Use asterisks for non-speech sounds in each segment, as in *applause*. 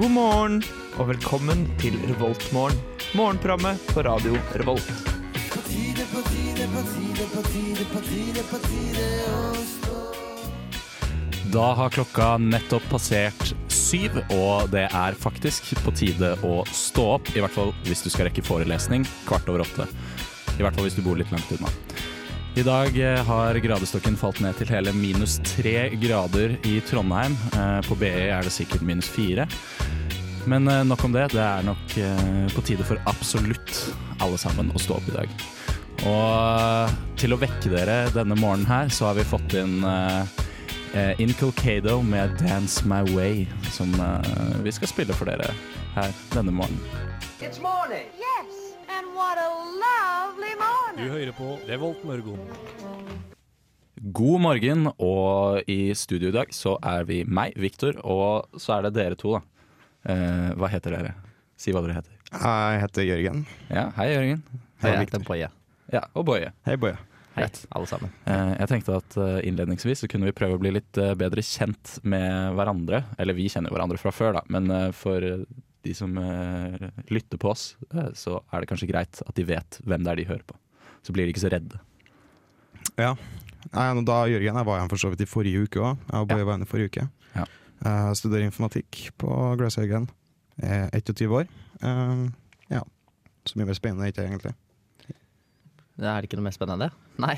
God morgen og velkommen til Revoltmorgen. Morgenprogrammet på radio Revolt. Da har klokka nettopp passert syv, og det er faktisk på tide å stå opp. I hvert fall hvis du skal rekke forelesning kvart over åtte. I hvert fall hvis du bor litt langt unna. I dag eh, har gradestokken falt ned til hele minus tre grader i Trondheim. Eh, På BI er det sikkert minus fire. Men eh, nok om det. Det er nok eh, på tide for absolutt alle sammen å stå opp i dag. Og eh, til å vekke dere denne morgenen her, så har vi fått inn eh, eh, Inculcado med 'Dance My Way', som eh, vi skal spille for dere her denne morgenen. It's morning. Yes, and what a lovely morning. hører på Revolt Mørgon. God morgen, og i studio i dag så er vi meg, Viktor, og så er det dere to, da. Eh, hva heter dere? Si hva dere heter. Jeg heter Jørgen. Ja, hei, Jørgen. Hei, Hei, Victor. Boje. Ja, og Boje. Hei, Boje. Hei, alle sammen. Eh, Jeg tenkte at eh, innledningsvis så kunne vi prøve å bli litt eh, bedre kjent med hverandre. Eller vi kjenner jo hverandre fra før, da, men eh, for eh, de som eh, lytter på oss, eh, så er det kanskje greit at de vet hvem det er de hører på. Så blir de ikke så redde. Ja. Nei, nå da Jørgen, jeg var igjen for så vidt i forrige uke òg. Jeg og Boje var igjen i forrige uke. Ja. Jeg studerer informatikk på Glasshaugen. Jeg er 21 år. Eh, ja. Så mye mer spennende er ikke det, egentlig. Det er ikke noe mer spennende? Nei.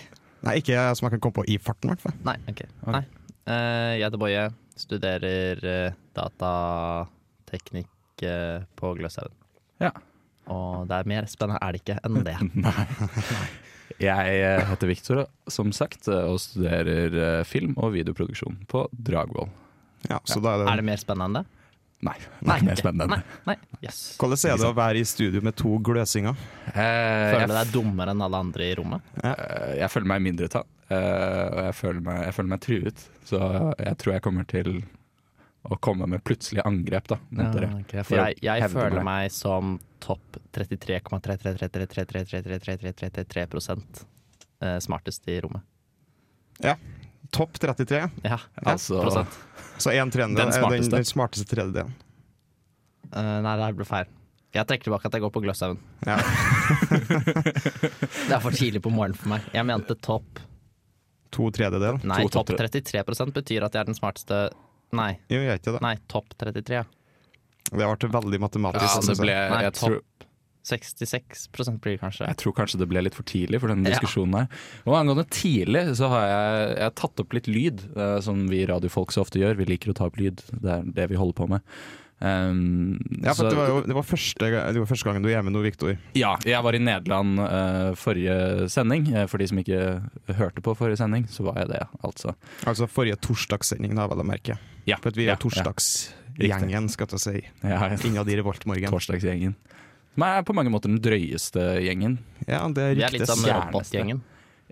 Nei, ikke som jeg kan komme på i farten, i hvert fall. Nei, ok. Nei. Eh, jeg heter Boje, studerer eh, datateknikk eh, på Gløshaugen. Ja. Og det er mer spennende er det ikke enn det. Jeg eh, heter Victor, som sagt, eh, og studerer eh, film og videoproduksjon på Dragvoll. Ja, så da er det, Er det mer spennende? Nei, det er mer ok. spennende. Nei, nei. Yes. Hvordan er det å være i studio med to gløsinger? Eh, Føler jeg, du deg dummere enn alle andre i rommet? eh, jeg føler meg i mindretall, eh, og jeg føler meg, jeg føler meg truet. Så jeg tror jeg kommer til å komme med plutselige angrep da, mot dere. Ja, ok. For For å jeg, jeg hevde føler meg. meg som topp 33,3333333333 eh, smartest i rommet. Topp 33, Ja, Altså- prosent. så en tredjedel Den er den, smarteste. den smarteste tredjedelen. Eh, nei, det her ble feil. Jeg trekker tilbake at jeg går på Gløshaugen. Ja. *laughs* Det er for tidlig på morgenen for meg. Jeg mente topp To tredjedel? Nei, To topp topp 33 betyr at jeg er den smarteste Nei, Jo, jeg er ikke det. nei, topp 33. ja. Det ble veldig matematisk. Ja, altså, det synes jeg. ble, Nei, jeg, topp. tror, 66 blir det kanskje. jeg tror kanskje det ble litt for tidlig for denne diskusjonen her. Og angående tidlig, så har jeg, jeg har tatt opp litt lyd, eh, som vi radiofolk så ofte gjør. Vi liker å ta opp lyd, det er det vi holder på med. Um, Ja, for så- det var jo det var første, ga- det var første gangen du er med nå, Viktor. Ja, jeg var i Nederland eh, forrige sending. Eh, For de som ikke hørte på forrige sending, så var jeg det, altså. Altså forrige torsdagssending, da, vel å merke. Ja, For at vi ja, er torsdagsgjengen, skal jeg si. Ja, ja, Innad i Revoltmorgen. torsdagsgjengen. Som er på mange måter den drøyeste gjengen. Ja, det Vi er litt ryktes. som gjerneste. robotgjengen.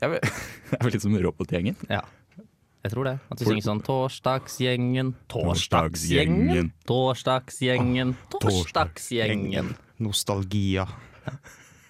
Jeg vet- *laughs* jeg er vel litt som robotgjengen. Ja. Jeg tror det. At du synger sånn Torsdagsgjengen, Torsdagsgjengen, Torsdagsgjengen. Torsdagsgjengen, Torsdagsgjengen. Nostalgia.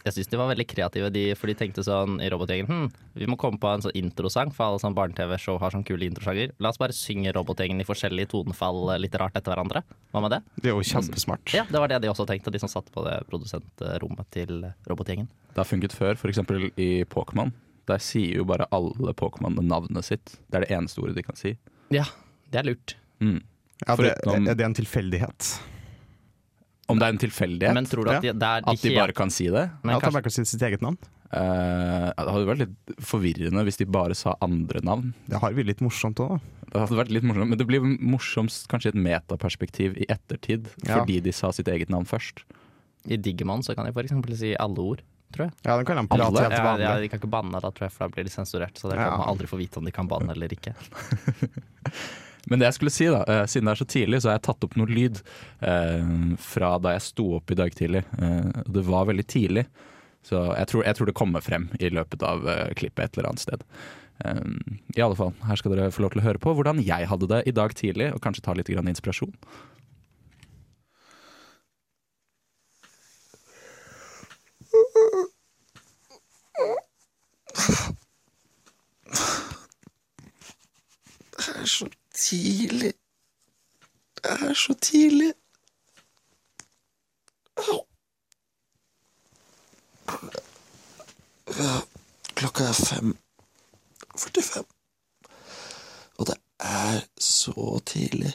Jeg syns de var veldig kreative, de, for de tenkte sånn i Robotgjengen hm, Vi må komme på en sånn introsang, for alle sånn barne-TV-show har sånn kule introsanger. La oss bare synge Robotgjengen i forskjellige tonefall eh, litt rart etter hverandre. Hva med det? Det er jo kjempesmart. Altså, Ja, det var det de også tenkte, de som satt på det produsentrommet til Robotgjengen. Det har funket før, f.eks. i Pokémon. Der sier jo bare alle Pokémon navnet sitt. Det er det eneste ordet de kan si. Ja, det er lurt. Mm. Ja, det, Foruten- er det en tilfeldighet? Om det er en tilfeldighet Men tror du at de, det er de, at de bare kan si det? men ja, at han kanskje, bare kan si sitt eget navn? Eh, det hadde vært litt forvirrende hvis de bare sa andre navn. Det har vi litt morsomt òg, da. Det hadde vært litt morsomt, men det blir morsomst kanskje i et metaperspektiv i ettertid, Ja. fordi de sa sitt eget navn først. I Digimon så kan de for eksempel si alle ord, tror jeg. Ja, den kan han Alle? prate helt Ja, vanlig. ja, de kan ikke banne da, tror jeg, for da blir de sensurert. Så dere Ja. kommer aldri få vite om de kan banne eller ikke. Men det jeg skulle si da, eh, siden det er så tidlig, så har jeg tatt opp noe lyd eh, fra da jeg sto opp i dag tidlig. Eh, og det var veldig tidlig, så jeg tror, jeg tror det kommer frem i løpet av eh, klippet et eller annet sted. Eh, I alle fall, her skal dere få lov til å høre på hvordan jeg hadde det i dag tidlig, og kanskje ta litt grann inspirasjon. Det er så tidlig. Det er så tidlig. Klokka, klokka er 5.45. Og det er så tidlig.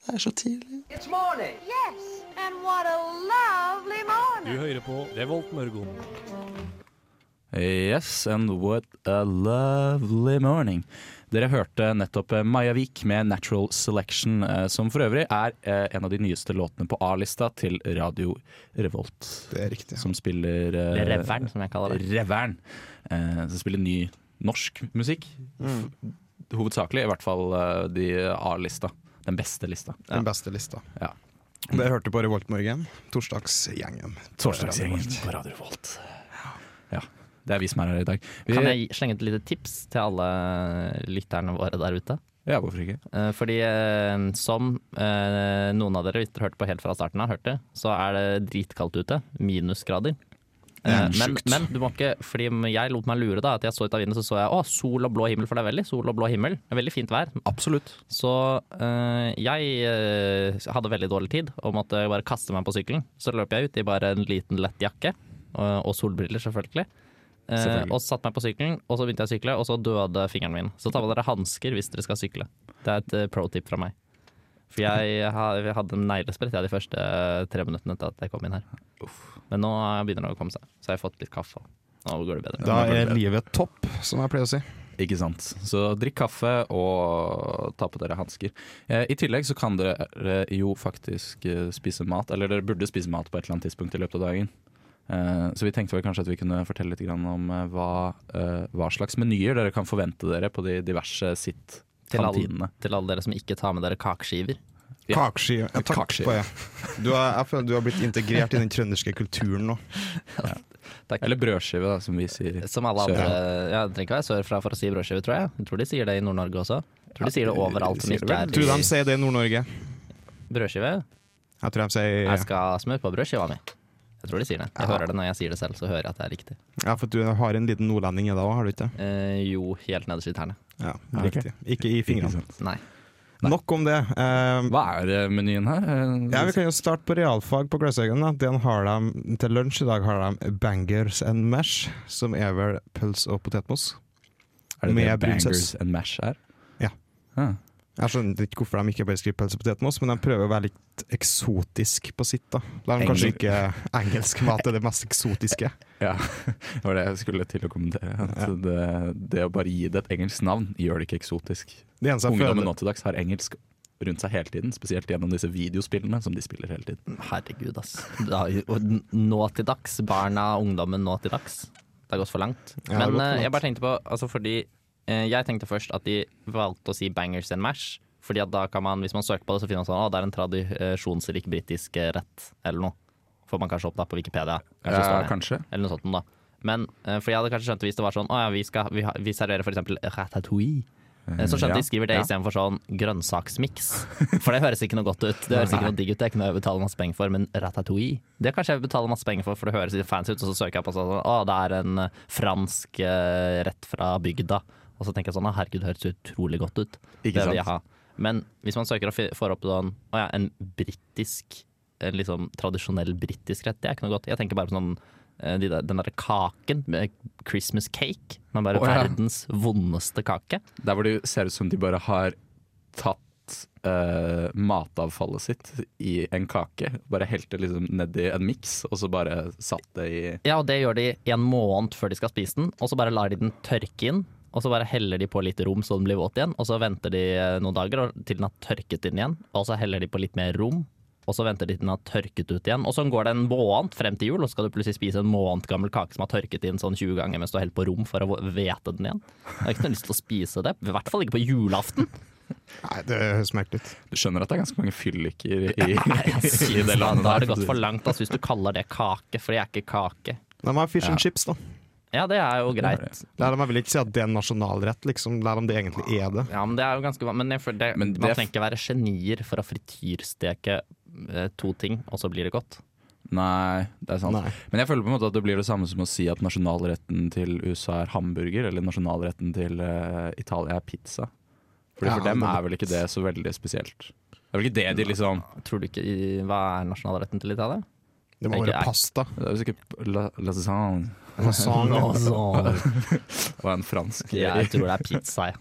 Det er så tidlig. Yes, and what a lovely morning. Du hører på Revolt Mørgon. Yes, and what a lovely morning. Dere hørte nettopp eh, Maja Vik med 'Natural Selection', eh, som for øvrig er eh, en av de nyeste låtene på A-lista til Radio Revolt, Det er riktig. som spiller eh, Eller reveren, som jeg kaller det. Reveren. eh, Som spiller ny norsk musikk. Hovedsakelig, i hvert fall eh, de A-lista. Den beste lista. Den beste lista. Ja. Det jeg hørte på Revoltmorgen. Torsdagsgjengen. Torsdagsgjengen på Radio Revolt. Ja. Det er vi som er her i dag. Vi, Kan jeg slenge ut et lite tips til alle lytterne våre der ute? Ja, hvorfor ikke? Eh, Fordi eh, som eh, noen av dere hørte på helt fra starten av, hørte, så er det dritkaldt ute. Minusgrader. Eh, Men, men du må ikke, fordi jeg lot meg lure da, at jeg så ut av vinduet så så jeg å, sol og blå himmel, for det er veldig sol og blå himmel. Det er Veldig fint vær. Absolutt. Så eh, jeg eh, hadde veldig dårlig tid og måtte bare kaste meg på sykkelen. Så løp jeg ut i bare en liten lett jakke og, og solbriller, selvfølgelig. Eh, Selvfølgelig. og satte meg på sykkelen, og så begynte jeg å sykle, og så døde fingeren min. Så ta med dere hansker hvis dere skal sykle. Det er et eh, pro tip fra meg. For jeg, *laughs* ha- jeg hadde en neglesprett jeg, de første eh, tre minuttene etter at jeg kom inn her. Men nå eh, begynner det å komme seg. Så jeg har fått litt kaffe. Nå går det bedre. Da er livet topp, som jeg pleier å si. Ikke sant. Så drikk kaffe og ta på dere hansker. Eh, I tillegg så kan dere eh, jo faktisk eh, spise mat, eller dere burde spise mat på et eller annet tidspunkt i løpet av dagen. Eh, så vi tenkte vel kanskje at vi kunne fortelle litt grann om eh, hva, eh, hva slags menyer dere kan forvente dere på de diverse Til alle, sitt-kantinene. til alle dere som ikke tar med dere kakeskiver. Ja. Kakeskive. Ja, takk Kakeskive. på det. Du er, jeg føler du har blitt integrert i den trønderske kulturen nå. Takk. Eller brødskive, da, som vi Eh, sier. Som alle andre ja, Det trenger ikke være sørfra for å si brødskive, tror jeg. Jeg tror de sier det i Nord-Norge også. Jeg tror de sier det overalt som sier det ikke Tror de er sier det i Nord-Norge. brødskive. Jeg tror de sier Jeg skal ha smør på brødskiva mi. Jeg tror de sier det. Jeg Ja. hører det når jeg sier det selv, så hører jeg at det er riktig. Ja, for du har en liten nordlending i deg òg, har du ikke det? Eh, jo, helt nederst i tærne. Ja, riktig. Ikke i fingrene. Nei. Nok om det. Eh, Hva er eh, menyen her? Eh, ja, Vi kan jo starte på realfag på Gløshaugen. da. Den har de, til lunsj i dag har de bangers and mash, som er vel pøls og potetmos. er det det med brun saus. bangers and mash er? Ja. Ah. Jeg skjønner ikke hvorfor de ikke bare skriver pøls og potetmos, men de prøver å være litt eksotisk på sitt. da. Da er de kanskje Engel- ikke engelsk mat er det mest eksotiske. Ja, det var det jeg skulle til å kommentere. At det, det å bare gi det et engelsk navn gjør det ikke eksotisk. Det eneste jeg Ungdommen føler nå til dags har engelsk rundt seg hele tiden, spesielt gjennom disse videospillene som de spiller hele tiden. Herregud, ass. Da, og n- nå til dags. Barna, ungdommen nå til dags. Det har gått for langt. Ja, det har gått Men for eh, jeg langt. bare tenkte på altså fordi eh, Jeg tenkte først at de valgte å si bangers and mash. Fordi at da kan man, Hvis man søker på det, så finner man sånn at det er en tradisjonsrik britisk eh, rett eller noe. Får man kanskje opp da på Wikipedia. Kanskje det står det. kanskje. Eller noe sånt noe, da. Men eh, for jeg hadde kanskje skjønt det hvis det var sånn Å ja, vi, skal, vi, har- vi serverer for eksempel ratatouille. Eh, Så skjønte ja, jeg de skriver det ja. istedenfor sånn grønnsaksmiks. For det høres ikke noe godt ut. Det høres ikke noe digg ut, det er ikke noe jeg betaler masse penger for. Men ratatouille, det kanskje jeg betaler masse penger for, for det høres litt fancy ut. Og så søker jeg på sånn Å, det er en eh, fransk eh, rett fra bygda. Og så tenker jeg sånn Å, herregud, det høres utrolig godt ut. Ikke det sant? vil jeg ha. Men hvis man søker og fi- får opp sånn Å ja, en britisk en liksom tradisjonell britisk rett, det er ikke noe godt. Jeg tenker bare på sånn eh, de der, den derre kaken med Christmas cake. Den bare Å, ja. verdens vondeste kake. Der hvor det ser ut som de bare har tatt eh, matavfallet sitt i en kake, bare helt det liksom nedi en miks, og så bare satt det i Ja, og det gjør de en måned før de skal spise den, og så bare lar de den tørke inn. Og så bare heller de på litt rom så den blir våt igjen, og så venter de eh, noen dager og- til den har tørket inn igjen. Og så heller de på litt mer rom, og så venter de til den har tørket ut igjen. Og sånn går det en måned frem til jul, og så skal du plutselig spise en måned gammel kake som har tørket inn sånn 20 ganger mens du har helt på rom for å hvete den igjen. Jeg har ikke noe lyst til å spise det, i hvert fall ikke på julaften. Nei, det høres merkelig ut. Du skjønner at det er ganske mange fylliker i, *laughs* i, Jeg synes det da, landet da har der. det gått for langt altså, hvis du kaller det kake, for det er ikke kake. De har fish and chips, da. Ja, det er jo greit. Lærer de jeg vil ikke si at det er en nasjonalrett, liksom. Lærer de det egentlig er det. Ja, men det er jo ganske van- Men, jeg føler det, Men det er man f- trenger ikke være genier for å frityrsteke eh, to ting, og så blir det godt. Nei, det er sant. Nei. Men jeg føler på en måte at det blir det samme som å si at nasjonalretten til USA er hamburger, eller nasjonalretten til eh, Italia er pizza. Fordi Ja, For dem men- er vel ikke det så veldig spesielt. Det er vel ikke det de liksom Tror du ikke i, Hva er nasjonalretten til Italia? Det må Ikke være jeg. pasta. Det er jo sikkert la, lasagne. *laughs* Lasagne. Det var en fransk Jeg tror det er pizza, jeg.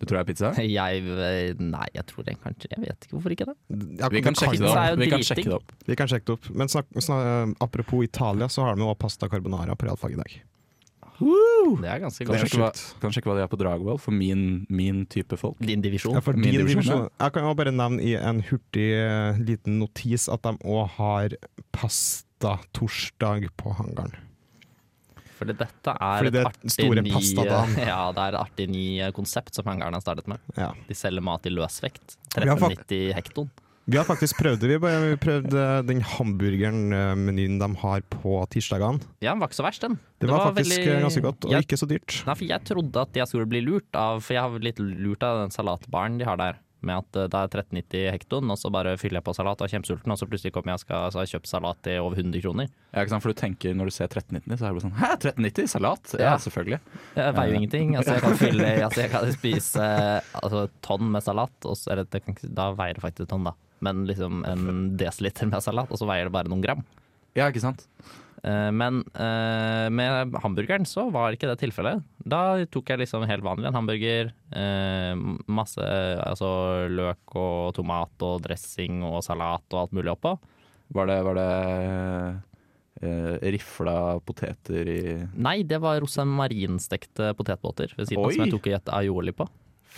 Du tror det er pizza? jeg. Nei, jeg tror det kanskje Jeg vet ikke hvorfor ikke det. Ja, Vi kan sjekke Pizza det opp. er jo Vi kan dritdigg. sjekke det opp. Vi kan sjekke det opp. Men snak, snak, apropos Italia, så har de jo også pasta carbonara på realfag i dag. Uh, Det er ganske Kan godt. sjekke, hva, kan sjekke hva de er på Dragvoll, for min, min type folk. Din Oh, divisjon. Ja, for Min din divisjon, divisjon. Jeg kan jo bare nevne i en hurtig eh, liten notis at de òg har pastatorsdag på hangaren. Fordi dette er Fordi det er et artig store ny, pastadagen. *laughs* Ja, det er et artig ny eh, konsept som hangaren har startet med. Ja. De selger mat i løsvekt. Vi har fakt- 1390 hekton. Vi har faktisk prøvd det. Vi bare prøvde den hamburgeren-menyen de har på tirsdagene. Ja, den var ikke så verst, den. Det, var, faktisk eh, veldig- ganske godt, og jeg, ikke så dyrt. Nei, for jeg trodde at jeg skulle bli lurt av For jeg har blitt lurt av den salatbaren de har der. Med at eh, det er 1390 hekton, og så bare fyller jeg på salat og er kjempesulten, og så plutselig kommer jeg og skal, så har jeg kjøpt salat til over 100 kroner. Ja, ikke sant? For du tenker når du ser 1390, så er det bare sånn Hæ, 1390? Salat? Ja, Ja. selvfølgelig. Jeg veier jo ingenting. Altså, jeg kan fylle altså, Jeg kan spise eh, altså, et tonn med salat, og så, eller, det kan, ikke- da veier det faktisk et tonn, da. Men liksom en desiliter med salat, og så veier det bare noen gram. Ja, ikke sant? Eh, Men eh, med hamburgeren så var ikke det tilfellet. Da tok jeg liksom helt vanlig en hamburger. eh, Masse eh, altså løk og tomat og dressing og salat og alt mulig oppå. Var det, var det eh, rifla poteter i Nei, det var rosmarintstekte potetbåter ved siden av Oi. som jeg tok i et aioli på.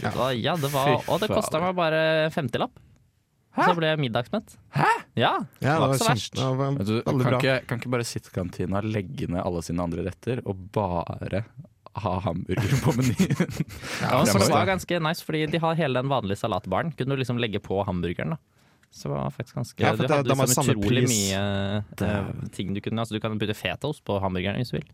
Ja. Så, ja, det var, Fy og det kosta fader. meg bare en femtilapp. Så ble jeg middagsmett. Hæ? Ja, Ja, det var ikke så verst. kjempe- det var Vet du, kan, Veldig bra. ikke, kan ikke bare sittekantina legge ned alle sine andre retter og bare ha hamburger på menyen? Ja, det må så det vi var ta. ganske nice, fordi de har hele den vanlige salatbaren. Kunne du liksom legge på hamburgeren, da. Så det var faktisk ganske Ja, for Du det- hadde de har liksom samme utrolig pris. mye eh, ting du kunne Altså, du kan putte fetaost på hamburgeren hvis du vil.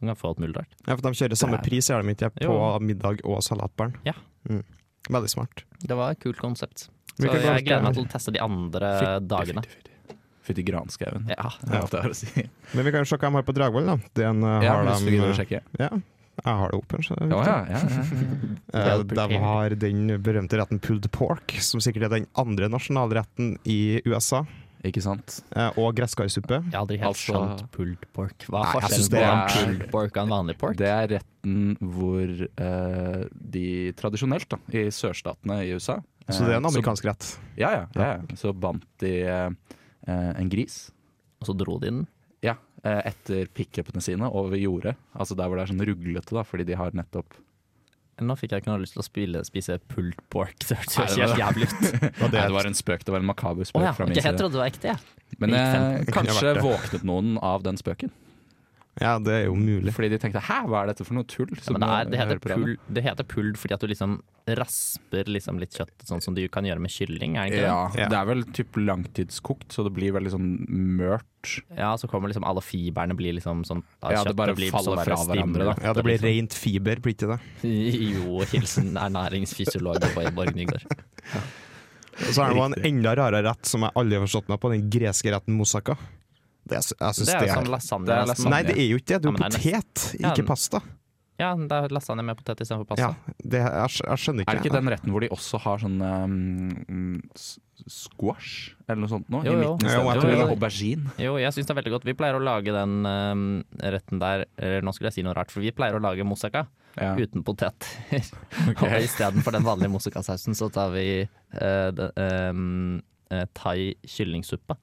Du kan få alt mulig rart. Ja, for de kjører Der. samme pris, gjør de ikke, på Jo. middag og salatbaren. Ja. Mm. Veldig smart. Det var et kult konsept. Så Hvilke jeg dager- gleder meg til å teste de andre Fytti, dagene. fytti, fytti. Fytti granskauen. Ja. Det er alt jeg har å si. Men vi kan jo se hva de har på Dragvoll, da. Den eh, Ja, har hvis du de gidder å sjekke. Ja, jeg har det åpen. Så det er Ja, viktig. ja, ja, ja. Eh, Well de prepared. har den berømte retten pulled pork, som sikkert er den andre nasjonalretten i USA. Ikke sant? eh, Og gresskarsuppe. Jeg har aldri helt Altså- skjønt pulled pork. Hva Nei, er jeg synes forskjellen det på er- en pulled pork og en vanlig pork? Det er retten hvor eh, de tradisjonelt, da, i sørstatene i USA eh, Så det er en amerikansk rett. Ja, ja. ja, ja. Så bandt de eh, eh, en gris Og så dro de den. Ja, eh, etter pickupene sine over jordet. Altså der hvor det er sånn ruglete, da, fordi de har nettopp Nå fikk jeg ikke noe lyst til å spille, spise pulled pork. *laughs* Det hørtes Nei, jo det helt jævlig ut. Nei, det, var en spøk, det var en makaber Å spøk ja, fra ok, min jeg side. trodde det var ekte, jeg. Men *laughs* eh, Det kunne kanskje vært det. våknet noen av den spøken. Ja, det er jo mulig. Fordi de tenkte 'hæ, hva er dette for noe tull'? Ja, som men det, er, det, jeg heter hører på radio?» pull, det heter pulled fordi at du liksom rasper liksom litt kjøtt, sånn som du kan gjøre med kylling. Er det ikke Ja, Ja. det er vel typ langtidskokt, så det blir veldig sånn mørt. det? ja, så kommer liksom alle fiberne blir liksom sånn Ja, av det kjøttet bare blir faller sånn fra der hverandre, da. stivnet. Ja, det blir liksom- rent fiber, blir ikke det? *laughs* Jo, hilsen ernæringsfysiolog på Borg Nygaard. Og så er det jo en enda rarere rett som jeg aldri har forstått meg på, den greske retten moussaka. Det, er- jeg *laughs* synes Det er jo sånn det lasagne. er nesten. lasagne. Nei, det er jo ikke det. Det er Ja, jo men det er potet, Ja, ikke men- pasta. Ja, det er lasagne med potet istedenfor Ja, pasta. det, jeg, skj- jeg skjønner ikke. Er det ikke den retten hvor de også har sånn um, mm, s- squash eller noe sånt nå? Jo, I jo. midten Jo, jeg istedenfor? tror Eller det. aubergine? Jo, jeg syns det er veldig godt. Vi pleier å lage den øhm, retten der eller Nå skulle jeg si noe rart, for vi pleier å lage moussaka Ja. uten *laughs* poteter. Og istedenfor den vanlige moussakasausen, så tar vi eh, den, ehm, eh, thai kyllingsuppe.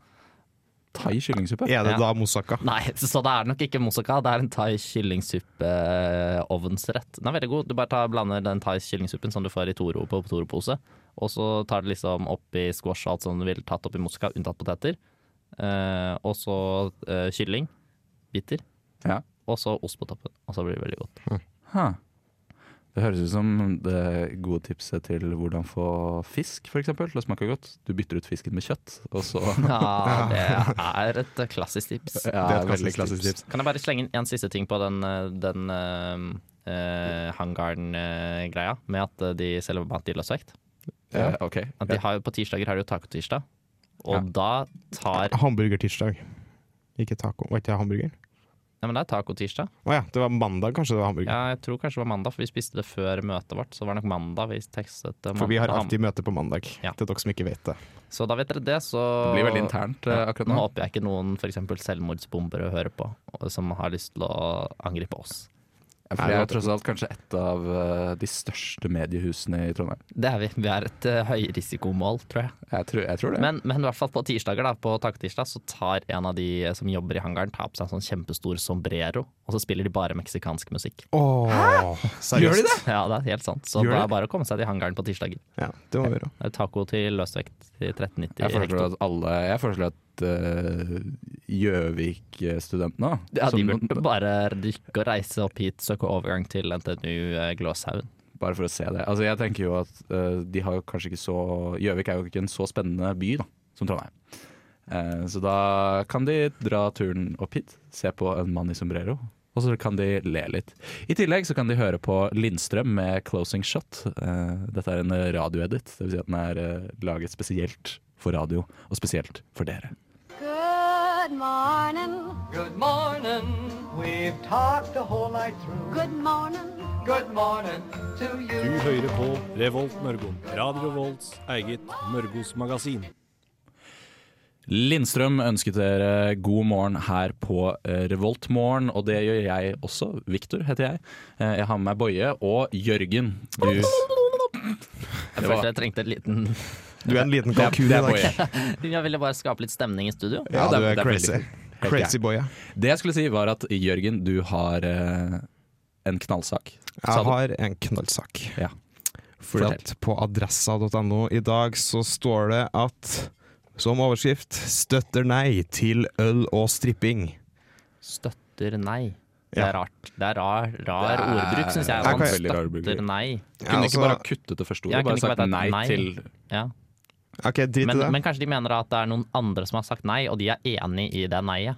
Thai kyllingsuppe? Er det Ja. da moussaka? Nei, så det er nok ikke moussaka. Det er en thai kyllingsuppe-ovnsrett. Den er veldig god. Du bare tar, blander den thai kyllingsuppen som du får i Toro på Toro-pose, og så tar du liksom oppi squash og alt som du vil, tatt oppi moussaka, unntatt poteter. Eh, og så eh, kylling, biter, Ja. og så ost på toppen. Og så blir det veldig *laughs* godt. Huh. Det høres ut som det gode tipset til hvordan få fisk for eksempel, til å smake godt. Du bytter ut fisken med kjøtt, og *laughs* så Ja, det er et klassisk tips. Ja, et veldig klassisk tips. Kan jeg bare slenge inn en siste ting på den, eh, den eh, eh, hangaren-greia, med at eh, de selger mat i løsvekt? Ja, ok. At de har, jo- på tirsdager har de jo tacotirsdag, og Ja. da tar Hamburgertirsdag. Ikke taco. Var ikke det hamburger? Ja, men det er tacotirsdag. Å ja, det var mandag kanskje det var hamburger. Ja, jeg tror kanskje det var mandag, for vi spiste det før møtet vårt. Så det var nok mandag vi tekstet eh, mandag. For vi har alltid møte på mandag, Ja. til dere som ikke vet det. Så da vet dere det, så Det blir veldig internt eh, akkurat Nå nå. håper jeg ikke noen for eksempel selvmordsbombere hører på, og- som har lyst til å angripe oss. For det er jo tross alt kanskje et av eh, de største mediehusene i Trondheim. Det er vi. Vi er et eh, høyrisikomål, tror jeg. Jeg tror, jeg tror det. Men, men i hvert fall på tirsdager, da, på taketirsdag, så tar en av de eh, som jobber i hangaren, tar på seg en sånn kjempestor sombrero, og så spiller de bare meksikansk *laughs* musikk. Åh, seriøst? Gjør de det? Ja, det er helt sant. Så Gjør det de er bare å komme seg til hangaren på tirsdager. Ja, det må vi gjøre. Det er Taco til løsvekt til 1390 Jeg foreslår hekto. at alle Jeg foreslår at eh, Gjøvik-studentene da, Ja, de som- burde bare rykke og reise opp hit, søke overgang til NTNU eh, Glåshaugen. Bare for å se det. Altså, jeg tenker jo at eh, de har jo kanskje ikke så Gjøvik er jo ikke en så spennende by da, som Trondheim. Eh, så da kan de dra turen opp hit, se på en mann i sombrero, og så kan de le litt. I tillegg så kan de høre på Lindstrøm med 'Closing Shot'. Eh, dette er en radioedit, dvs. Si at den er eh, laget spesielt for radio, og spesielt for dere. Good morning. Good morning. We've talked the whole night through. Good morning. Good morning to Du you. hører på Revolt Mørgon. Radio Revolts eget Mørgos magasin. Lindstrøm ønsket dere god morgen her på eh, Revoltmorgen, og det gjør jeg også. Viktor heter jeg. Eh, Jeg har med meg Boje og Jørgen. Du Jeg følte jeg trengte en liten *laughs* Du er en liten Det er- kalkun i det er dag. Boje. Jeg ville bare skape litt stemning i studio. Ja, det du er- er det er crazy. veldig Helt Crazy greit. boy, ja. Det jeg skulle si, var at Jørgen, du har eh, en knallsak. Sa Jeg du? har en knallsak. Ja. Fordi Fortell. at på adressa.no i dag så står det at som overskrift 'Støtter nei til øl og stripping'. Støtter nei. Det Ja. er rart. Det er rar, rar Det er- ordbruk, syns jeg. det er Man veldig rar ordbruk. støtter nei. Kunne altså- ikke bare ha kuttet det første Ja, ordet, bare kunne ikke sagt bare nei, tatt nei. til Ja. OK, drit Men, i det. men kanskje de mener at det er noen andre som har sagt nei, og de er enig i det neiet.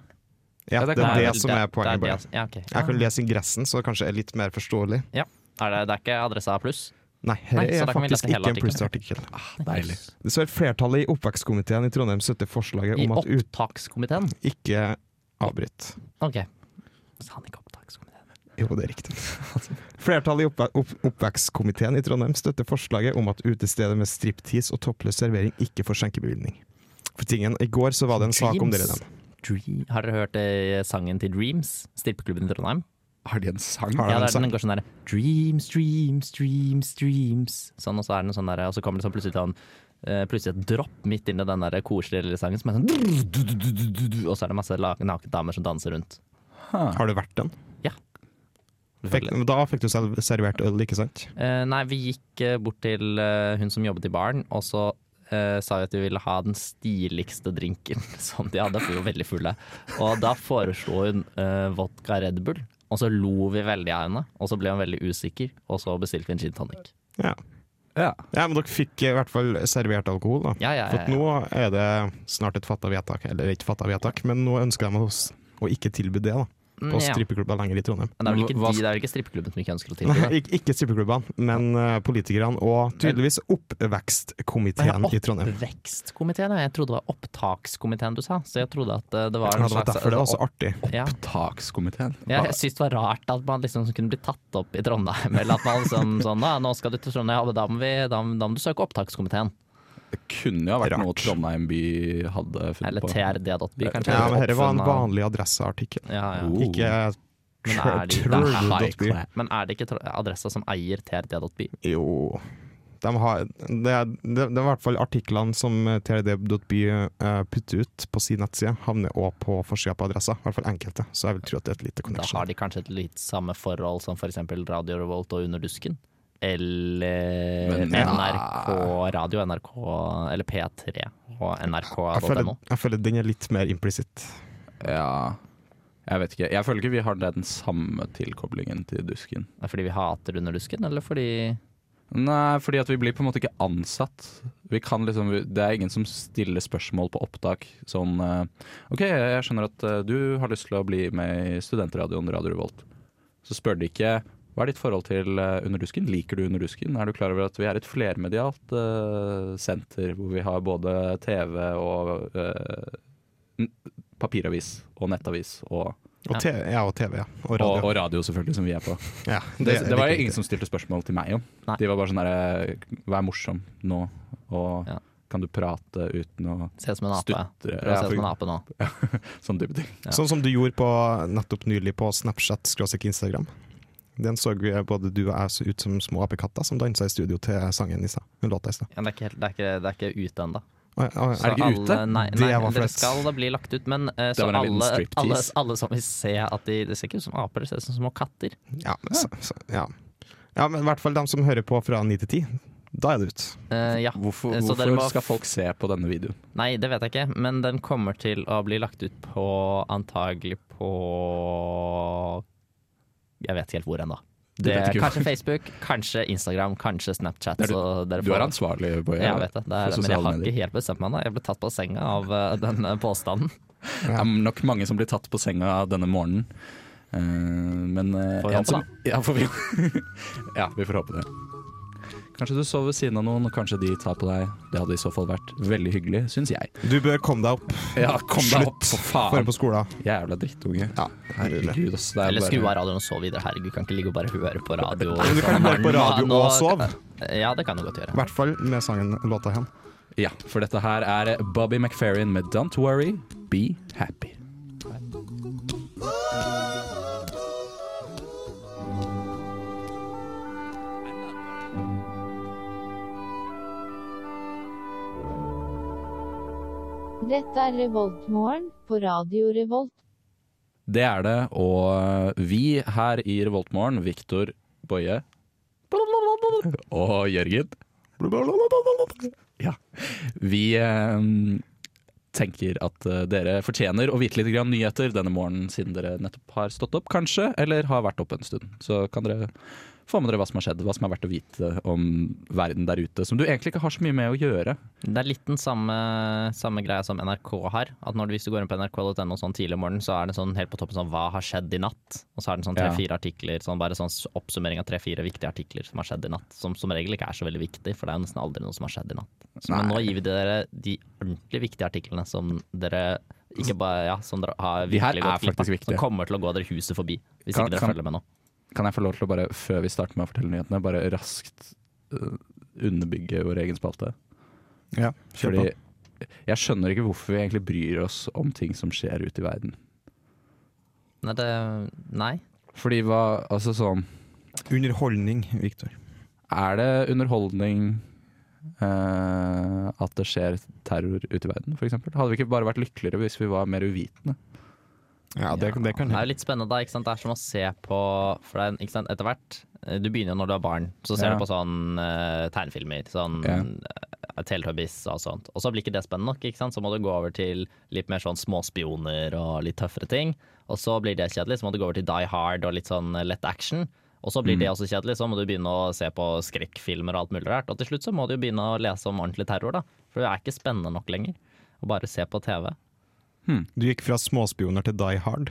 ja, det er det som er det poenget. det Boje. som- Ja, ok. Jeg kan lese ingressen, så det kanskje er litt mer forståelig. ja. Er det, det er ikke adressa pluss? Nei, her Nei, så er da kan vi lese faktisk hele ikke en artikkelen. Ah. plussartikkel. Deilig. Det står flertallet i oppvekstkomiteen i Trondheim støtter forslaget I om at ut opptakskomiteen? ikke avbryt. Ok. Sa han ikke opptakskomiteen? Jo, det er riktig. Flertallet i oppve opp oppvekstkomiteen i Trondheim støtter forslaget om at utesteder med striptease og toppløs servering ikke får skjenkebevilgning. For tingen, I går så var det en sak om dere Dreams. dem. Dream. Har dere hørt eh, sangen til Dreams? Strippeklubben i Trondheim? Har de en sang? Har de Ja, en det er, sang? den går sånn der Dreams, dreams, dreams, dreams Sånn, og så er den sånn der Og så kommer det sånn plutselig sånn eh, Plutselig et dropp midt inn i den der koselige lille sangen Som er sånn drr, du, du, du, du, du, Og så er det masse la- nakne damer som danser rundt Har du vært den? Ja Fikk, selvfølgelig. da fikk du selv servert øl, ikke sant? Eh, Nei, vi gikk eh, bort til eh, hun som jobbet i baren Og så eh, sa vi at vi ville ha den stiligste drinken *laughs* Som de hadde, for vi var veldig fulle Og da foreslo hun eh, vodka Red Bull Og så lo vi veldig av henne Og så ble hun veldig usikker Og så bestilte vi en gin tonic Ja. Ja. ja, men dere fikk i hvert fall servert alkohol, da. Ja, ja, ja, For at nå er det snart et fatta vedtak, eller ikke fatta vedtak, men nå ønsker de oss å ikke tilby det da, på Mm, Ja. strippeklubber lenger i Trondheim. Men det er vel ikke, Hva- de, det er vel ikke strippeklubben som ikke ønsker å tilby Nei, *laughs* det? ikke, ikke strippeklubbene, men eh, politikerne og tydeligvis oppvekstkomiteen i Trondheim. Oppvekstkomiteen? ja. Jeg trodde det var opptakskomiteen du sa. Så jeg trodde at eh, det altså, var Ja, en det var slags derfor det var så artig. ja. Opptakskomiteen. Ja, jeg synes det var rart at man liksom kunne bli tatt opp i Trondheim. Eller at man *laughs* liksom sånn da, 'Nå skal du til Trondheim, ja, men da må, vi, da, må- da må du søke opptakskomiteen'. Det kunne jo ha vært Rart. noe Trondheim by hadde funnet Eller på. trd.by, kanskje. Ja, men dette var en Oppfunnet- vanlig adresseartikkel. ja, ja. Oh. Ikke eh, Men er de- Trøl- det er high Trøl.by. class. Men er det ikke Tro- adressa som eier trd.by? Jo de har, det, er, det, det er i hvert fall artiklene som trd.by eh, putter ut på sin nettside, havner også på forsida på adressa. I hvert fall enkelte. Så jeg vil tro at det er et lite Da connection. har de kanskje et litt samme forhold som f.eks. Radio Revolt og Underdusken. Eller Men- NRK Radio, NRK eller P3 og jeg, føler, nrk.no. jeg føler den er litt mer implisitt. Ja, jeg vet ikke. Jeg føler ikke vi har den samme tilkoblingen til Dusken. Er det Fordi vi hater Underdusken, eller fordi Nei, fordi at vi blir på en måte ikke ansatt. Vi kan liksom, det er ingen som stiller spørsmål på opptak. Sånn eh, OK, jeg skjønner at eh, du har lyst til å bli med i studentradioen Radio Revolt. Så spør de ikke hva er ditt forhold til eh, Underdusken? Liker du Underdusken? Er du klar over at vi er et flermedialt eh, senter hvor vi har både TV og eh, n- papiravis og nettavis og Og TV, ja, og, TV, ja. og radio. Og, og radio, selvfølgelig, som vi er på. ja, Det, det var jo er viktig. ingen som stilte spørsmål til meg om. Nei. De var bare sånn derre Vær morsom nå, og Ja. kan du prate uten å Se ut som en ape. Stutter, Prøv å ja, se ut som en for- ape nå. Sånn type ting. Ja. Sånn som du gjorde på, nettopp nylig på Snapchat skråstrek Instagram. Den så vi både du og jeg så ut som små apekatter som dansa i studio til sangen i stad. Hun låta i stad. Ja, det, er ikke helt, det, er ikke, det er ikke ute ennå. Å, ja, å, ja. Er det ikke ute? Nei, Det nei var dere flaut. skal da bli lagt ut, men eh, Det så var en liten alle, alle, striptease. alle som vil se at de Det ser ikke ut som aper, det ser ut som små katter. Ja, men så, så, ja. ja, men i hvert fall dem som hører på fra ni til ti. Da er det ut. Eh, ja. Hvorfor, Eh, så dere hvorfor må- skal folk se på denne videoen? Nei, det vet jeg ikke, men den kommer til å bli lagt ut på antagelig på Jeg vet ikke helt hvor ennå. Du Det, vet ikke hvor. kanskje Facebook, kanskje Instagram, kanskje Snapchat. Det er Så dere Du får- er ansvarlig, Boje. Jeg vet det, det er, for men jeg sosiale har medier. ikke helt bestemt meg ennå. Jeg ble tatt på senga av eh, den eh, påstanden. Det er nok mange som blir tatt på senga denne morgenen. Eh, men eh, Får vi en håpe som, da. ja, får vi, ja, vi *laughs* får håpe det. Kanskje du sover ved siden av noen, og kanskje de tar på deg. Det hadde i så fall vært veldig hyggelig, syns jeg. Du bør komme deg opp Ja, kom deg opp, for for faen! på skolen. Jævla drittunge. Ja, herregud. Herregud, ass. Det er Eller skru av bare radioen og sove videre. Herregud, kan ikke ligge og bare høre på *laughs* radio. Men du kan høre på radio Nå- og sove. Ja, det kan du godt I gjøre. hvert fall med sangen låta hen. Ja, for dette her er Bobby McFerrin med Don't Worry, Be Happy. Dette er Revoltmorgen på Radio Revolt. Det er det, og eh, vi her i Revoltmorgen, Viktor Boje og Jørgen Ja. Vi eh, tenker at eh, dere fortjener å vite litt grann nyheter denne morgenen, siden dere nettopp har stått opp, kanskje, eller har vært oppe en stund. Så kan dere få med dere hva som har skjedd, hva som er verdt å vite om verden der ute, som du egentlig ikke har så mye med å gjøre. Det er litt den samme, samme greia som NRK har. At når du, Hvis du går inn på nrk.no sånn tidlig om morgenen, så er det sånn helt på toppen sånn 'hva har skjedd i natt?' Og så er det sånn Ja. tre-fire artikler, sånn bare sånn oppsummering av tre-fire viktige artikler som har skjedd i natt. Som som regel ikke er så veldig viktig, for det er jo nesten aldri noe som har skjedd i natt. Så, men Nei. nå gir vi dere de ordentlig viktige artiklene som dere ikke bare, ja, som dere har De her er virkelig gått glipp av. faktisk viktige. Som kommer til å gå dere huset forbi, hvis Kan- ikke dere kan- følger med nå. Kan jeg få lov til å bare, før vi starter med å fortelle nyhetene, bare raskt eh, underbygge vår egen spalte? Ja, kjør Fordi på. jeg skjønner ikke hvorfor vi egentlig bryr oss om ting som skjer ute i verden. Nei, det, nei. Fordi hva, altså sånn Underholdning, Viktor. Er det underholdning eh, at det skjer terror ute i verden, f.eks.? Hadde vi ikke bare vært lykkeligere hvis vi var mer uvitende? Ja, det, det kan Det er jeg. jo litt spennende, da. Ikke sant? Det er som å se på For det er, ikke sant? etter hvert eh, Du begynner jo når du er barn, så ser Ja. du på sånn eh, tegnefilmer. Sånn Ja. eh, Teletubbies og sånt. Og så blir ikke det spennende nok, ikke sant? så må du gå over til litt mer sånn småspioner og litt tøffere ting. Og så blir det kjedelig, så må du gå over til Die Hard og litt sånn eh, lett action. Og så blir Mm. det også kjedelig, så må du begynne å se på skrekkfilmer og alt mulig rart. Og til slutt så må du jo begynne å lese om ordentlig terror, da. For det er ikke spennende nok lenger å bare se på TV. Du gikk fra småspioner til Die Hard.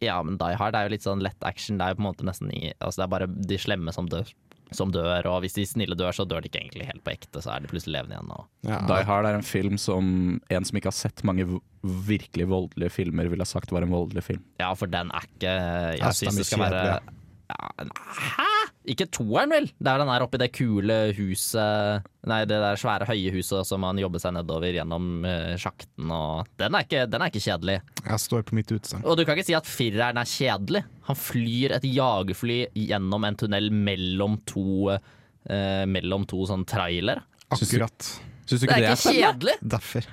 Ja, men Die Hard er jo litt sånn lett action. Det er jo på en måte nesten i, altså Det er bare de slemme som dør. Som dør, og hvis de snille dør, så dør de ikke egentlig helt på ekte. Så er de plutselig levende igjen. Og. Die Hard er en film som en som ikke har sett mange v- virkelig voldelige filmer, ville ha sagt var en voldelig film. Ja, for den er ikke Ja, Jeg syns den er det skal være ja, kjedelig. Hæ?! Ikke toeren, vel? Det er den her oppi det kule huset Nei, det der svære høye huset som man jobber seg nedover gjennom eh, sjakten og Den er ikke, den er ikke kjedelig. Jeg står på mitt utsagn. Og du kan ikke si at fireren er kjedelig. Han flyr et jagerfly gjennom en tunnel mellom to eh, Mellom to sånn trailer. Syns du- Akkurat Syns du Det ikke det er er ikke spennende? kjedelig! derfor.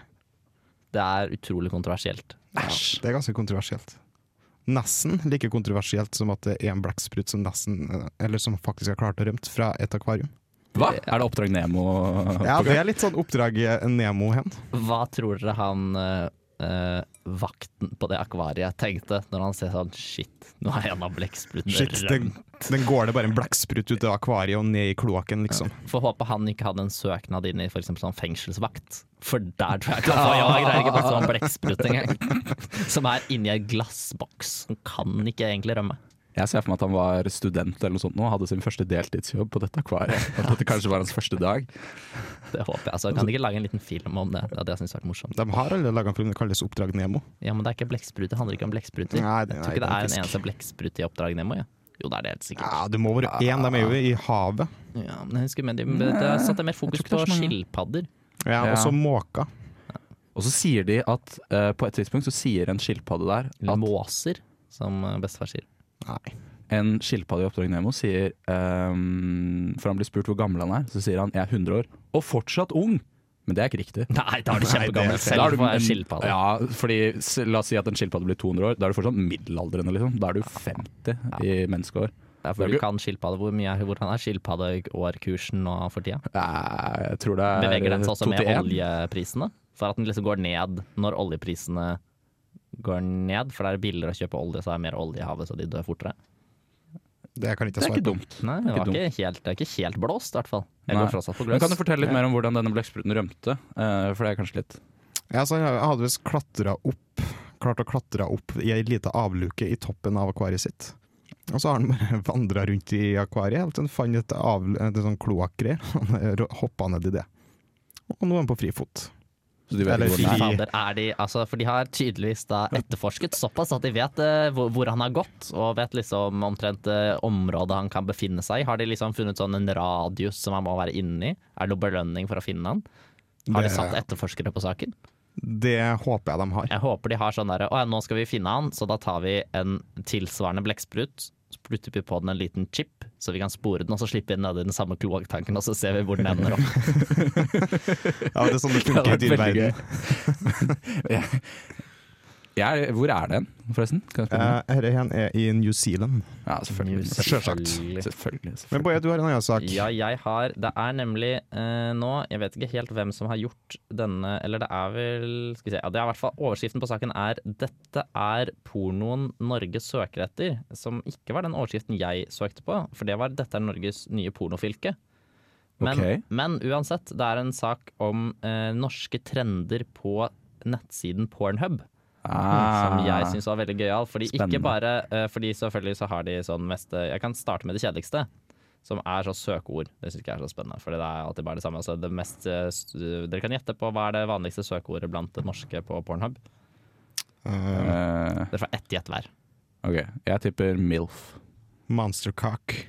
Det er utrolig kontroversielt. Æsj! Det er ganske kontroversielt. Nesten like kontroversielt som at det er en blekksprut som nesten eh, Eller som faktisk har klart å rømt fra et akvarium. Hva? Er det Oppdrag Nemo? Ja, det er litt sånn oppdrag eh, Nemo hen. Hva tror dere han eh, eh, vakten på det akvariet tenkte når han ser sånn Shit, nå er en av Shit, blekksprutene den, rømt. den går det bare en blekksprut ut av akvariet og ned i kloakken, liksom. Får håpe han ikke hadde en søknad inn i for eksempel sånn fengselsvakt. For der tror jeg ikke han får jobb. Jeg greier ikke å få sånn *laughs* blekksprut engang. Som er inni en glassboks. Han kan ikke egentlig rømme. Jeg ser for meg at han var student eller noe sånt nå, og hadde sin første deltidsjobb på dette *laughs* akvariet. Og at dette kanskje var hans første dag. *laughs* Det håper jeg. Altså, kan de ikke lage en liten film om det? Det hadde jeg syntes vært morsomt. De har alle laga en film som kalles Oppdrag Nemo. Ja, men det er ikke blekksprut. Det handler ikke om blekkspruter. Nei, Jeg det- tror ikke det nei, er en faktisk. eneste blekksprut i Oppdrag Nemo. Ja. Jo, det er det helt sikkert. Ja, det må være én. De er jo i havet. Ja, men jeg husker med de, Da satte jeg mer fokus på skilpadder. Ja, Ja. Og så måka. Og så sier de at eh, på et tidspunkt så sier en skilpadde der Eller at måser, som eh, bestefar sier. *laughs* Nei. En skilpadde i Oppdrag Nemo sier ehm, For han blir spurt hvor gammel han er, så sier han 'jeg er 100 år', og fortsatt ung! Men det er ikke riktig. Nei, da er du Nei, det- kjempegammel da er selv du for å være en- skilpadde. Ja, fordi s- La oss si at en skilpadde blir 200 år. Da er du fortsatt middelaldrende, liksom. Da er du 50 i menneskeår. Det Det er er fordi ikke- du kan skilpadde. Hvor mye er, hvordan er skilpaddeårkursen nå for tida? Eh, Jeg tror det er Beveger den seg også 2 med til 1. oljeprisene? For at den liksom går ned når oljeprisene går ned, for det er billigere å kjøpe olje, så er det mer olje i havet, så de dør fortere. Det kan ikke Det jeg er svare ikke på. dumt. Nei, det, Ikke var ikke helt, det er ikke helt blåst, i hvert fall. Jeg Nei. går fortsatt på Men gløs. kan du fortelle litt mer om hvordan denne blekkspruten rømte? Eh, For det er kanskje litt Ja, så jeg hadde visst klatra opp Klart å klatre opp i ei lita avluke i toppen av akvariet sitt. Og så har han bare *laughs* vandra rundt i akvariet helt til han fant et, av, et sånn *laughs* kloakkgreie. Han hoppa ned i det. Og nå er han på frifot. Så de vet Eller ikke hvor Fy den er. fri- Fader, er de, altså, for de har tydeligvis da etterforsket såpass at de vet eh, hvor, hvor han har gått, og vet liksom omtrent eh, området han kan befinne seg i. Har de liksom funnet sånn en radius som han må være inne i? Er det noe belønning for å finne han? Har de Det- satt etterforskere på saken? Det håper jeg de *laughs* har. Jeg håper de har sånn derre Å ja, nå skal vi finne han, så da tar vi en tilsvarende blekksprut. Så putter vi på den en liten chip, så vi kan spore den, og så slipper vi den ned i den samme kloakktanken, og så ser vi *laughs* hvor den ender opp. Ja, det er sånn det Det funker hadde i vært veldig dyreverden. gøy. Jeg er, hvor er den, forresten? Kan jeg spørre om det? Eh, Dette her er i New Zealand. Ja, selvfølgelig. Selvsagt. Selvfølgelig. Men selvfølgelig. Boje, du har en annen sak. Ja, jeg har Det er nemlig eh, nå Jeg vet ikke helt hvem som har gjort denne Eller det er vel Skal vi se ja, Det er i hvert fall Overskriften på saken er 'Dette er pornoen Norge søker etter'. Som ikke var den overskriften jeg søkte på, for det var 'Dette er Norges nye pornofylke'. Men, Ok. men uansett, det er en sak om eh, norske trender på nettsiden Pornhub som jeg syns var veldig gøyal. Fordi Ah. Spennende. ikke bare eh, Fordi selvfølgelig så har de sånn mest eh, Jeg kan starte med det kjedeligste, som er så søkeord. Det syns jeg er så spennende, Fordi det er alltid bare det samme. Altså det mest, eh, s- dere kan gjette på hva er det vanligste søkeordet blant det norske på Pornhub. Eh, Eh, Dere får ett gjett hver. ok, jeg tipper MILF. Monstercock.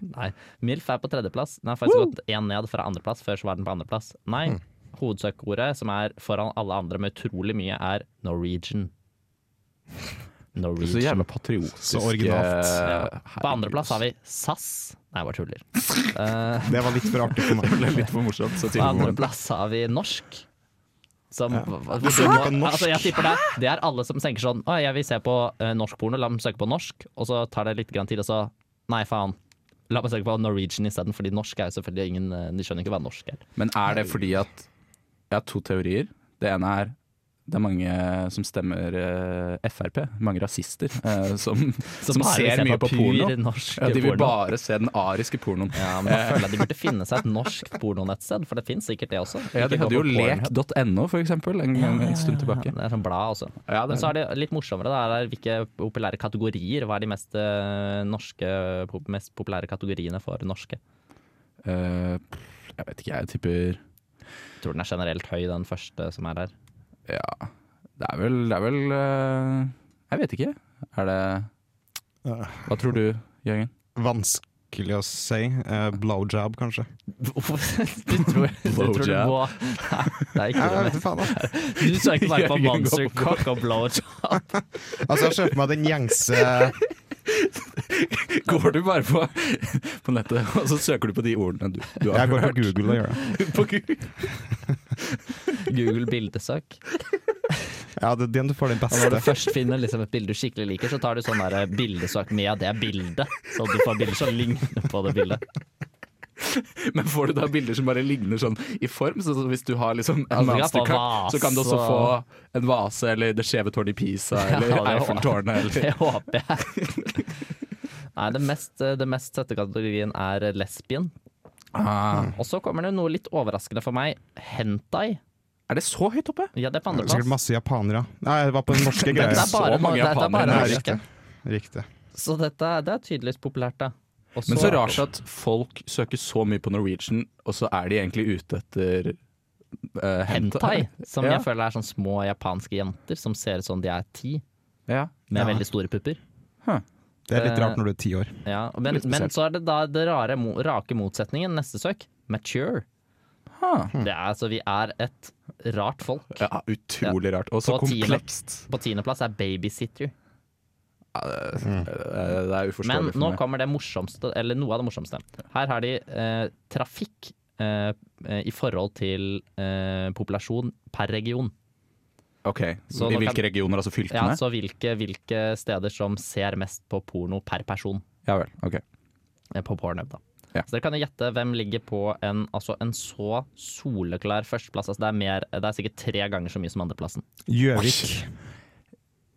Nei. MILF er på tredjeplass. Den har faktisk gått én ned fra andreplass. Før så var den på andreplass. Nei. Hmm. Hovedsøkeordet, som er foran alle andre med utrolig mye, er Norwegian. Så Norwegian. jævla patriotisk. Så originalt. eh, På andreplass har vi SAS. Nei, jeg bare tuller. Eh, Det var litt for artig for meg. Det ble litt for morsomt. Så På tydelig. andreplass har vi norsk. Som, hva- hvor Søker du på må, norsk? altså jeg tipper det, det er alle som tenker sånn Å, jeg vil se på eh, norsk porno, la meg søke på norsk. Og så tar det litt grann tid, og så Nei, faen. La meg søke på Norwegian isteden, fordi norsk er jo selvfølgelig ingen eh, De skjønner ikke hva norsk er. Men er det fordi at Jeg har to teorier. Det ene er det er mange som stemmer eh, Frp, mange rasister, *laughs* eh, som, som, bare vil ser se mye på, pur porno. Norsk Ja, de vil porno. bare se den ariske pornoen. Ja, men da føler jeg de burde finne seg et norsk pornonettsted, for det fins sikkert det også. Ja, de Ikke hadde gå jo på Pornhub. lek.no, for eksempel, en, gang- *laughs* en stund tilbake. Ja, det er sånn blad også. Ja, det Men er så er det litt morsommere, da. er det Hvilke populære kategorier? Hva er de mest eh, norske pop- mest populære kategoriene for norske? Eh, pff, jeg vet ikke, jeg tipper Jeg tror den er generelt høy, den første *laughs* som er her. Ja, det er vel, det er vel eh, Jeg vet ikke. Er det Eh, Hva tror du, Jørgen? Vanskelig å si. Eh, blowjob, kanskje. Du tror, du tror du Blowjob. må Nei, ikke Ja, det. jeg vet faen, da. Du søker bare på Jørgen går på monster cock og blowjob. *laughs* Altså, jeg ser for meg den gjengse *laughs* Går du bare på, på nettet og så søker du på de ordene du, du har Jeg går på hørt? Google og gjør det. På Google. Google bildesøk. Ja, det er den du får den Og når du beste. først finner liksom et bilde du skikkelig liker, så tar du sånn der bildesøk med det bildet. Så du får bilder som ligner på det bildet. Men får du da bilder som bare ligner sånn i form? Så, så hvis du har liksom Ja, en du kan få monsterkart, så kan du også vase. få en vase eller det skjeve tårnet i *laughs* Pisa eller Ja, det hå- Eiffeltårnet eller Det håper *laughs* jeg. Nei, det mest, eh, det mest søtte kategorien er lesbien. *laughs* ah, Og så kommer det noe litt overraskende for meg. Hentai. Er det så høyt oppe? Ja, det er på Sikkert andreplass. *laughs* masse japanere. Nei, jeg var på den norske Det greia. er bare, Så mange det er bare japanere er norske. Riktig. Så dette det er tydeligvis populært, da. Også- Men så rart at folk søker så mye på Norwegian, og så er de egentlig ute etter eh, Hentai, som Ja. jeg føler er sånn små japanske jenter som ser ut som de er ti, Ja. med Ja. veldig store pupper. Det er litt Eh, rart når du er ti år. Ja, men, Litt spesielt. men så er det da det rare, mo- rake motsetningen, neste søk. Mature. Ha. Det er altså, vi er et rart folk. ja utrolig rart. Og så På tiende. komplekst. På tiendeplass er babysitter. Eh, Det er Men uforståelig for nå meg. kommer det morsomste, eller noe av det morsomste. Her har de eh, trafikk eh, eh, i forhold til eh, populasjon per region. Ok, Så I nå hvilke kan- regioner, altså Ja, fylkene? Ja, altså hvilke, hvilke steder som ser mest på porno per person. vel. ok. eh, på Pornhub. da. Ja. Så dere kan jo gjette hvem ligger på en, altså en så soleklar førsteplass. Altså det, er mer, det er sikkert tre ganger så mye som andreplassen. Gjøvik.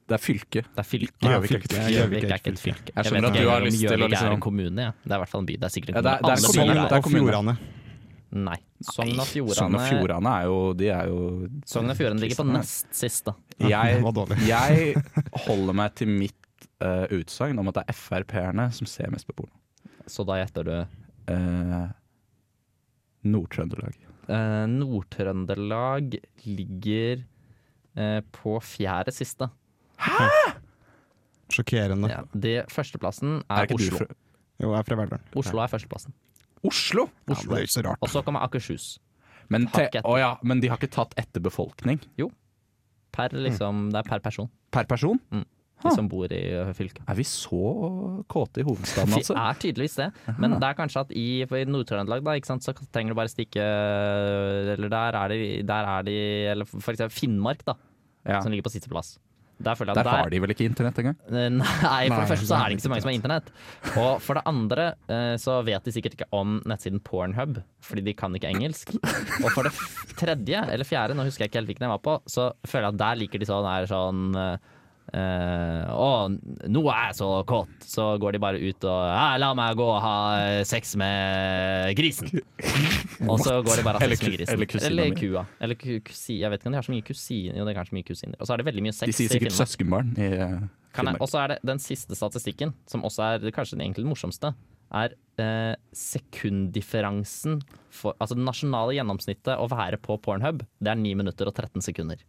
Det er fylke. Det er fylke. Ja, Gjøvik er ikke et fylke. fylke. Gjøvik er ikke et fylke. Jeg skjønner vet at ikke du har om lyst til å Gjøvik er liksom- en kommune, ja. Det er i hvert fall en by. Det er sikkert en Ja, kommune. det er- det er Alle kommune. Sogn byer er Det er og kommune. Fjordane. Nei. Sogn og Sogn og Fjordane Fjordane er jo De er jo Sogn og Fjordane ligger på Kristian, nest sist, da. Jeg, det var dårlig. *laughs* jeg holder meg til mitt uh, utsagn om at det er Frp-erne som ser mest på porno. Så da gjetter du Eh, Nord-Trøndelag. eh, Nord-Trøndelag ligger eh, på fjerde siste. Sjokkerende. Ja. Det, førsteplassen Er er, ikke du Oslo. fra- Jo, jeg er fra Verdalen. Oslo er førsteplassen. Oslo? Ja, det er jo ikke så Og rart. så kommer Akershus. Men, te, Hakk etter. å ja, men de har ikke tatt etter befolkning Per, Mm. liksom, Det er per person. per person? Ah. de som bor i ø, fylket. Er vi så kåte i hovedstaden, Vi altså? er tydeligvis det, men det er kanskje at i, for i Nord-Trøndelag da, ikke sant, så trenger du bare stikke Eller der er de, der er de Eller for eksempel Finnmark, da, Ja. som ligger på sisteplass. sånn- Der, føler jeg Der at har de vel ikke internett engang? Eh, *laughs* Nei, for Nei, det første så det er det ikke så mange som har internett. Og for det andre eh, så vet de sikkert ikke om nettsiden Pornhub, fordi de kan ikke engelsk. Og for det f- tredje, eller fjerde, nå husker jeg ikke helt hvilken jeg var på, så føler jeg at der liker de sånn er sånn eh, å, nå er jeg så kåt! Så går de bare ut og «Ja, La meg gå og ha eh, sex med grisen! *laughs* Og så går de bare og har Eller sex ku- med grisen. eller kusina mi. kua. Eller ku- kusi, jeg vet ikke om de har så mye kusiner. Jo, det er kanskje mye kusiner. Og så er det veldig mye sex De sier i sikkert Finnmark. søskenbarn i eh, Kan jeg, Finnmark. og så er det den siste statistikken, som også er kanskje den egentlig den morsomste, er eh, sekunddifferansen for Altså det nasjonale gjennomsnittet å være på Pornhub, det er 9 minutter og 13 sekunder.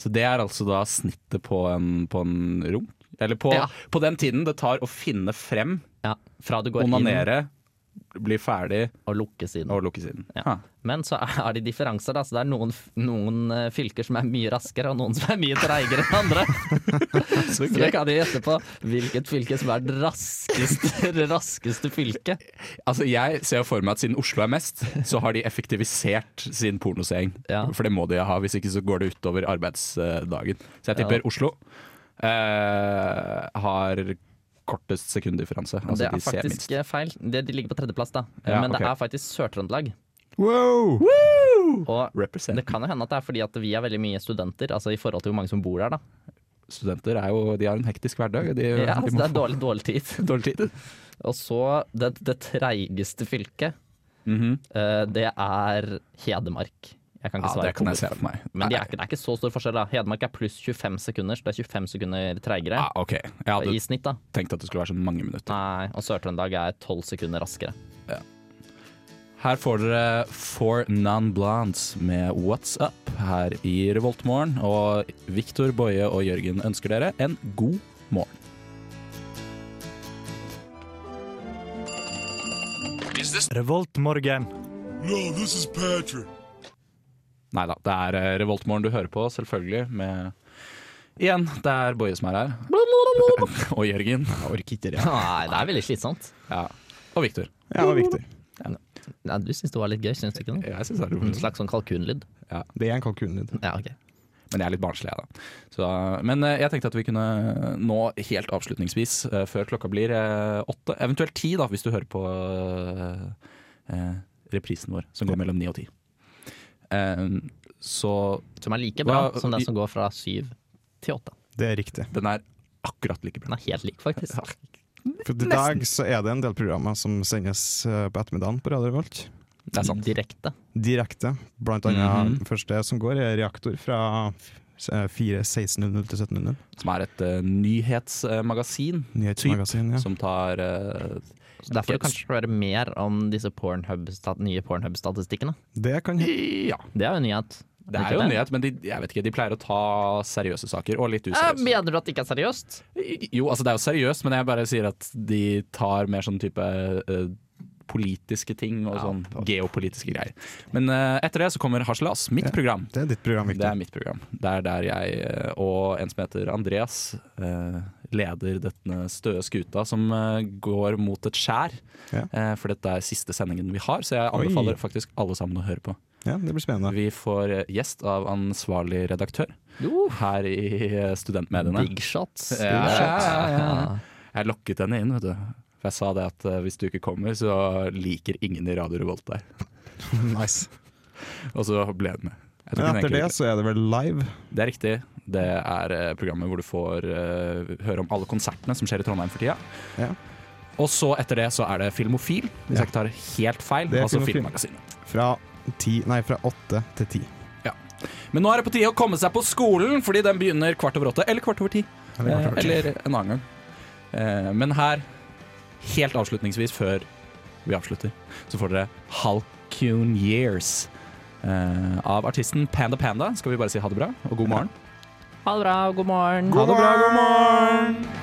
Så det er altså da snittet på en, på en rom? Eller på, Ja. på den tiden det tar å finne frem, Ja, Fra du går onanere, bli ferdig inn og lukker siden. og lukke siden. Ja. Ha. Men så er det differanser, da. Så det er noen, f- noen eh, fylker som er mye raskere, og noen som er mye treigere enn *laughs* andre. *laughs* så dere kan jo gjette på hvilket fylke som er det raskeste, *laughs* det raskeste fylket. Altså Jeg ser jo for meg at siden Oslo er mest, så har de effektivisert sin pornoseing. Ja. For det må de ha, hvis ikke så går det utover arbeidsdagen. Så jeg Ja. tipper Oslo eh, har kortest sekunddifferanse. Altså det er de ser faktisk minst. eh, feil. Det, de ligger på tredjeplass, da. Eh, Ja, Men ok. det er faktisk Sør-Trøndelag. Wow! Og Represent. det kan jo hende at det er fordi at vi er veldig mye studenter, altså i forhold til hvor mange som bor der, da. Studenter er jo, de har en hektisk hverdag. og De, Ja, de altså, må det er få dårlig, dårlig tid. *laughs* dårlig tid. Og så det, det treigeste fylket, eh, det er Hedmark. Jeg kan ikke Ja, svare det kan på jeg se hvorfor. for meg. Men det er, ikke, det er ikke så stor forskjell, da. Hedmark er pluss 25 sekunder, så det er 25 sekunder treigere Ah, ok, Jeg i hadde snitt, da. tenkt at det skulle være sånn mange minutter. Nei, og Sør-Trøndelag er 12 sekunder raskere. Her får dere Four Non-Blondes med What's Up her i Revoltmorgen. Og Viktor, Boje og Jørgen ønsker dere en god morgen. Revoltmorgen. Nei da, det er eh, Revoltmorgen du hører på, selvfølgelig. Med Igjen, det er Boje som er her. *laughs* Og Jørgen. *laughs* Nei, det er veldig slitsomt. Ja. Og Viktor. Ja, det var viktig. Nei, du syns det var litt gøy, syns du ikke det? Jeg syns det er En rolig. slags sånn kalkunlyd. Det er en kalkunlyd. Ja, ok. Men jeg er litt barnslig, jeg, da. Så, men eh, jeg tenkte at vi kunne nå helt avslutningsvis, eh, før klokka blir eh, åtte, eventuelt ti, da, hvis du hører på eh, eh, reprisen vår, som går mellom ni og ti. Eh, så Som er like bra Hva- som den som går fra syv til åtte. Det er riktig. den er akkurat like Den bra. er helt lik, faktisk. For I dag så er det en del programmer som sendes eh, på ettermiddagen på Radio Revolt. Det er sant. Direkte. Direkte. Blant annet Mhm. den første som går, er Reaktor fra S- eh, 4 1600 til 1700. Som er et eh, nyhetsmagasin Nyhetsmagasin, ja. som tar eh, Så der Ok, får du kanskje høre mer om disse Pornhub, stat- nye Pornhub-statistikkene. Det kan he- Ja. Det er jo en nyhet. Det er jo en nyhet, men de, jeg vet ikke, de pleier å ta seriøse saker, og litt Eh, useriøse. Mener du at det ikke er seriøst? Jo, altså det er jo seriøst, men jeg bare sier at de tar mer sånn type eh, politiske ting og sånn geopolitiske greier. Men eh, etter det så kommer Harselas, mitt program. Det er ditt program, Det er Victor. mitt program. Det er der jeg eh, og en som heter Andreas eh, leder denne støe skuta som eh, går mot et skjær. Ja. Eh, For dette er siste sendingen vi har, så jeg Oi. anbefaler faktisk alle sammen å høre på. Ja, det blir spennende. Vi får eh, gjest av ansvarlig redaktør Jo. her i eh, Studentmediene. Big shots. Ja, ja, ja, ja. Jeg lokket henne inn, vet du. For jeg sa det at eh, hvis du ikke kommer, så liker ingen i Radio Revolt deg. *laughs* Nice. Og så ble hun med. Jeg tror Men hun etter det egentlig- så er det vel live. det er riktig. Det er eh, programmet hvor du får eh, høre om alle konsertene som skjer i Trondheim for tida. Ja. Og så etter det så er det Filmofil, hvis Ja. jeg ikke tar helt feil. Det er altså Filmofil. Filmmagasinet. Fra ti, nei, fra åtte til ti. Men nå er det på tide å komme seg på skolen, fordi den begynner kvart over åtte eller kvart over ti. Eller Eh, kvart over ti. Eller en annen gang. Eh, Men her, helt avslutningsvis før vi avslutter, så får dere Halcune Years eh, av artisten Panda Panda. Skal vi bare si ha det bra og god morgen? Ha det bra, god morgen. Ha det bra, god morgen!